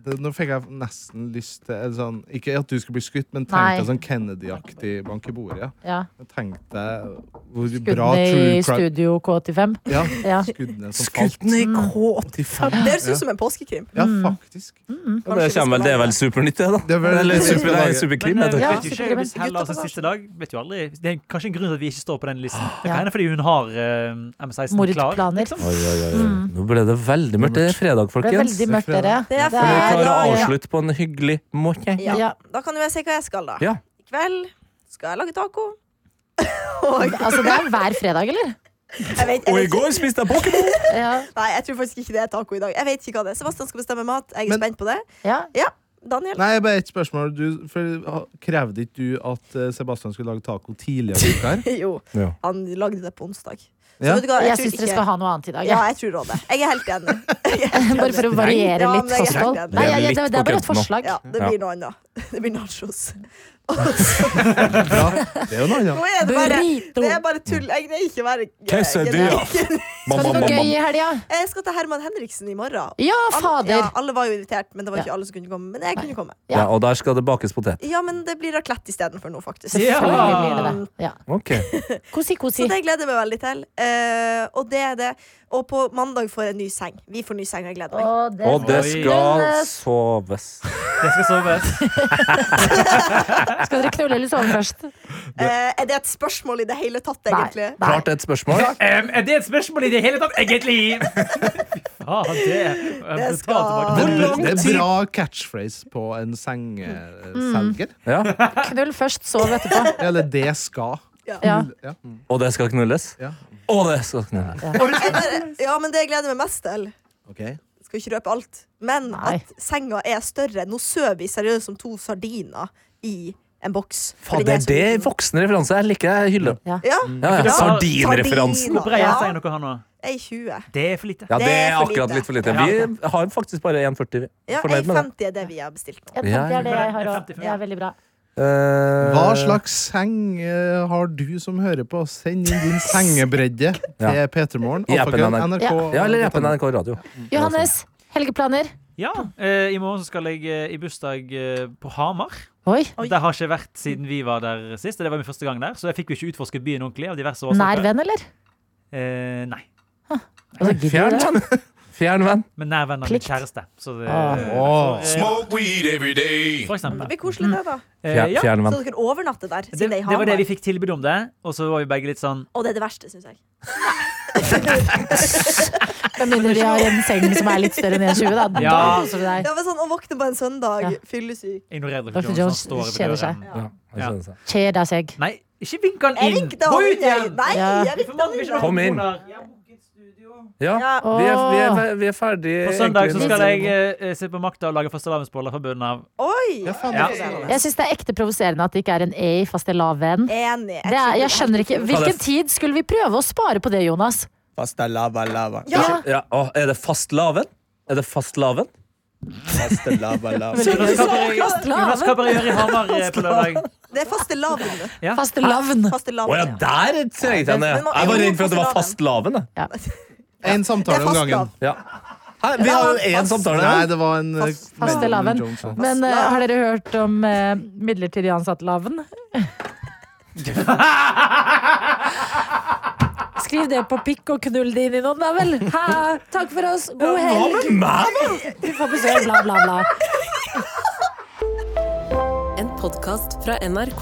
Speaker 3: det- Nå fikk jeg nesten lyst til en sånn Ikke at du skulle bli skutt, men tenk
Speaker 10: Nei.
Speaker 3: deg sånn Kennedy-aktig bank i bordet. Ja.
Speaker 10: ja.
Speaker 3: Men Tenk deg hvor bra
Speaker 10: Skuddene
Speaker 3: true
Speaker 10: i
Speaker 3: crime
Speaker 10: Studio K85.
Speaker 3: ja,
Speaker 10: Ja.
Speaker 3: Skuddene som falt.
Speaker 5: Skutt den i K85.
Speaker 4: Mm. Det høres ut som en påskekrim.
Speaker 3: Ja,
Speaker 10: Mm.
Speaker 3: faktisk.
Speaker 5: Ja, Det, kommer vel, det er vel supernytt, det, da?
Speaker 3: Det er vel-
Speaker 5: eller
Speaker 3: det er
Speaker 5: super, nei,
Speaker 3: superlaget.
Speaker 5: superkrim.
Speaker 7: Men eh,
Speaker 5: heter det.
Speaker 7: vet
Speaker 10: Ja,
Speaker 7: ikke,
Speaker 10: sikkert, men
Speaker 7: hvis Hella har sin
Speaker 4: gutta på
Speaker 7: siste dag vet jo aldri. Det er kanskje en grunn til at vi ikke står på den listen. Det
Speaker 10: Ja.
Speaker 7: kan hende fordi hun har eh, M16 klar.
Speaker 10: Mordplaner.
Speaker 5: Oi, oi, oi, oi. Nå ble det veldig mørkt. Det er fredag,
Speaker 10: Det ble
Speaker 5: folkens.
Speaker 10: veldig mørkt, dere.
Speaker 4: Det er
Speaker 10: Det
Speaker 5: Vi
Speaker 10: er-
Speaker 5: klarer å
Speaker 4: fredag.
Speaker 5: avslutte på en hyggelig måte.
Speaker 4: Ja.
Speaker 10: Ja.
Speaker 4: Da kan du vel si hva jeg skal, da.
Speaker 5: Ja.
Speaker 4: I kveld skal jeg lage taco. Og
Speaker 10: Altså, det er hver fredag, eller?
Speaker 4: jeg vet, jeg
Speaker 5: Og i
Speaker 4: vet ikke,
Speaker 5: går spiste jeg pokémon!
Speaker 10: Ja.
Speaker 4: nei, jeg tror faktisk ikke det er taco i dag. Jeg vet ikke hva det er. Sebastian skal bestemme mat. Jeg er
Speaker 3: Men-
Speaker 4: spent på det.
Speaker 10: ja.
Speaker 4: Daniel?
Speaker 3: Nei, bare ett spørsmål. Du, for, ha- krevde ikke du at eh, Sebastian skulle lage taco tidligere i uka? her?
Speaker 4: Jo,
Speaker 5: Ja.
Speaker 4: han lagde det på onsdag. Så
Speaker 3: Ja.
Speaker 4: vet du hva,
Speaker 10: Jeg
Speaker 4: tror
Speaker 10: syns dere
Speaker 4: ikke-
Speaker 10: skal ha noe annet i dag.
Speaker 4: Ja,
Speaker 10: Ja.
Speaker 4: jeg tror rådet. Jeg er helt enig. Jeg er helt
Speaker 10: Bare for å
Speaker 4: enig.
Speaker 10: variere
Speaker 4: Ja, men
Speaker 10: litt
Speaker 4: jeg er helt
Speaker 10: kosthold.
Speaker 4: enig.
Speaker 10: Nei, ja, ja, det, det er bare et
Speaker 5: Litt på
Speaker 10: forslag.
Speaker 4: Ja, det
Speaker 5: Ja.
Speaker 4: blir noe annet. Det blir nachos.
Speaker 3: Ja, det er jo noe
Speaker 4: Nå
Speaker 3: annet.
Speaker 4: er det bare,
Speaker 10: Burrito.
Speaker 4: det er bare tull. Jeg greier ikke å være
Speaker 5: Quesadilla.
Speaker 4: Jeg-
Speaker 10: Skal det noe gøy i helga?
Speaker 4: Jeg skal til Herman Henriksen i morgen.
Speaker 10: Ja,
Speaker 4: Alle-
Speaker 10: fader!
Speaker 4: Ja, alle var jo invitert, men det var
Speaker 10: Ja.
Speaker 4: ikke alle som kunne komme. Men jeg kunne komme.
Speaker 5: Ja, og der skal det bakes potet.
Speaker 4: Ja, men det blir raclette istedenfor nå, faktisk.
Speaker 7: Ja.
Speaker 10: Selvfølgelig blir det det. Ja.
Speaker 5: Ok.
Speaker 10: Kosi, kosi.
Speaker 4: Så det gleder jeg meg veldig til. Eh, og det er det. Og på mandag får jeg en ny seng. Vi får ny seng, og jeg gleder meg.
Speaker 10: Og det,
Speaker 5: Og det skal soves.
Speaker 7: Jeg skal sove.
Speaker 10: skal dere knulle eller sove først?
Speaker 4: Eh, er det et spørsmål i det hele tatt, egentlig?
Speaker 10: Nei.
Speaker 5: Klart et spørsmål.
Speaker 7: Em, er det et spørsmål i det hele tatt, egentlig? Ja,
Speaker 4: Det
Speaker 7: det Jeg
Speaker 4: skal-
Speaker 7: skal
Speaker 3: Det
Speaker 7: Men
Speaker 3: er- Det er bra catchphrase på en
Speaker 10: Mm.
Speaker 3: sengeselger.
Speaker 5: Ja.
Speaker 10: Knull først, sov etterpå.
Speaker 3: Eller det skal.
Speaker 10: Ja.
Speaker 3: Ja.
Speaker 5: Og det skal knulles.
Speaker 3: Ja.
Speaker 5: Og det skal knulles.
Speaker 4: Er det- Ja, men det jeg gleder meg mest til
Speaker 3: Ok.
Speaker 4: Skal ikke røpe alt, men
Speaker 10: Nei.
Speaker 4: at senga er større. Nå sover vi seriøst som to sardiner i en boks.
Speaker 5: Faen,
Speaker 4: Fordi
Speaker 5: det er
Speaker 4: så
Speaker 5: det
Speaker 4: liten.
Speaker 5: voksen referanse. Jeg liker jeg hyller.
Speaker 4: Ja,
Speaker 5: Ja, ja.
Speaker 7: Ja.
Speaker 5: Sardinreferansen.
Speaker 4: Sardin.
Speaker 7: Hvor bred er
Speaker 4: Ja.
Speaker 7: sengen dere har nå?
Speaker 4: jeg er 20.
Speaker 7: Det er for lite.
Speaker 5: Ja, det
Speaker 4: Det
Speaker 5: er
Speaker 4: er for
Speaker 5: akkurat
Speaker 4: lite.
Speaker 5: litt for lite.
Speaker 7: Ja.
Speaker 5: Vi har faktisk bare 1,40.
Speaker 4: Ja,
Speaker 5: Fornøyd med det.
Speaker 4: 1,50 er det vi har bestilt nå.
Speaker 10: Jeg
Speaker 5: Ja,
Speaker 10: tenker det er det jeg har
Speaker 7: ja.
Speaker 10: òg. Det er veldig bra.
Speaker 5: Eh,
Speaker 3: Hva slags seng eh, har du som hører på? Send inn din sengebredde til
Speaker 5: Ja.
Speaker 3: P3morgen.
Speaker 5: I appen
Speaker 3: alfakrøll,
Speaker 5: NRK.
Speaker 3: NRK.
Speaker 5: Ja, eller appen NRK Radio.
Speaker 10: Johannes, helgeplaner?
Speaker 7: Ja, eh, I morgen så skal jeg eh, i bursdag eh, på Hamar.
Speaker 10: Oi.
Speaker 4: Oi.
Speaker 7: Det har ikke vært siden vi var der sist. og Det var min første gang der, så jeg fikk jo ikke utforsket byen ordentlig. av diverse
Speaker 10: Nær
Speaker 7: årsaker.
Speaker 10: venn, eller?
Speaker 7: Eh, nei.
Speaker 10: Altså, gidder du
Speaker 5: Fjern
Speaker 10: det?
Speaker 5: venn. Fjern venn.
Speaker 7: Men nær venn av min
Speaker 10: Plikt.
Speaker 7: kjæreste. Så det,
Speaker 10: Ah.
Speaker 3: Åh.
Speaker 7: for, eh, for
Speaker 4: Det
Speaker 7: eksempel.
Speaker 4: blir koselig, det, da.
Speaker 7: Eh,
Speaker 5: Fjern,
Speaker 7: ja.
Speaker 5: Mm. fjern
Speaker 4: Så
Speaker 5: venn.
Speaker 4: dere overnatter der,
Speaker 7: Det,
Speaker 4: siden det er i
Speaker 7: det var det
Speaker 4: Hamar.
Speaker 7: vi fikk tilbud om det, og så var vi begge litt sånn
Speaker 4: Og det er det verste, syns jeg.
Speaker 10: Med mindre de har en seng som er litt større enn 1,20, da. Da
Speaker 7: Ja.
Speaker 10: koser du deg.
Speaker 4: Ja, men sånn, Å våkne på en søndag,
Speaker 10: Ja.
Speaker 4: fyllesyk
Speaker 7: Ignorer dere
Speaker 10: Dr.
Speaker 7: Jones,
Speaker 10: Jones
Speaker 7: han står
Speaker 10: kjeder
Speaker 7: ved
Speaker 10: seg.
Speaker 7: døren.
Speaker 5: Ja, jeg skjønner det.
Speaker 10: Kjeder seg.
Speaker 7: Nei, ikke vink han
Speaker 4: Jeg
Speaker 7: inn!
Speaker 4: vinkte
Speaker 7: Gå
Speaker 4: han
Speaker 7: ut
Speaker 4: igjen!
Speaker 7: igjen!
Speaker 4: Nei,
Speaker 10: Ja.
Speaker 4: jeg
Speaker 7: For
Speaker 4: vinkte
Speaker 7: mange
Speaker 4: han
Speaker 7: vil ikke
Speaker 4: igjen.
Speaker 7: være
Speaker 5: Kom inn. Ja,
Speaker 4: Ja.
Speaker 5: vi er, vi er, vi er ferdige.
Speaker 7: På søndag så
Speaker 5: egentlig,
Speaker 7: skal
Speaker 5: men-
Speaker 7: jeg eh, se på Makta og lage fastelavnsboller fra bunnen av.
Speaker 4: Oi!
Speaker 3: Ja, faen,
Speaker 7: Ja.
Speaker 3: det er-
Speaker 10: Jeg syns det er ekte provoserende at det ikke er en E i fastelavn.
Speaker 4: Enig.
Speaker 10: Det er, jeg skjønner ikke. Hvilken
Speaker 5: det-
Speaker 10: tid skulle vi prøve å spare på det, Jonas?
Speaker 4: Ja.
Speaker 5: Ja, å, er det fastlaven? Er det fastlaven?
Speaker 7: Jonas, hva bør jeg- Jonas, hva bør jeg gjøre i Hamar eh, på lørdag?
Speaker 4: Det er fastelavn.
Speaker 10: Fastelavn.
Speaker 5: Å ja,
Speaker 4: Fastelavn.
Speaker 5: der trengte jeg den. ja.
Speaker 4: Men må-
Speaker 5: Jeg var redd for at det var
Speaker 4: fastelavn.
Speaker 5: fastlaven. jeg.
Speaker 3: En
Speaker 4: Det
Speaker 3: samtale
Speaker 4: er
Speaker 3: om
Speaker 4: fast
Speaker 3: gangen.
Speaker 4: lav.
Speaker 5: Ja. Hæ, vi har jo én samtale
Speaker 3: Nei,
Speaker 5: her.
Speaker 3: det var en eh,
Speaker 4: Fast-
Speaker 3: Melvin
Speaker 10: fastelavn.
Speaker 3: Jones, ja.
Speaker 10: Men eh, har dere hørt om eh, midlertidig ansatt laven? Skriv det på pikk og knull det inn i noen, da vel. Ha, takk for oss. God
Speaker 5: Ja, hva
Speaker 10: helg.
Speaker 5: med meg,
Speaker 10: Du får besøk, bla, bla, bla.
Speaker 2: En podkast fra NRK.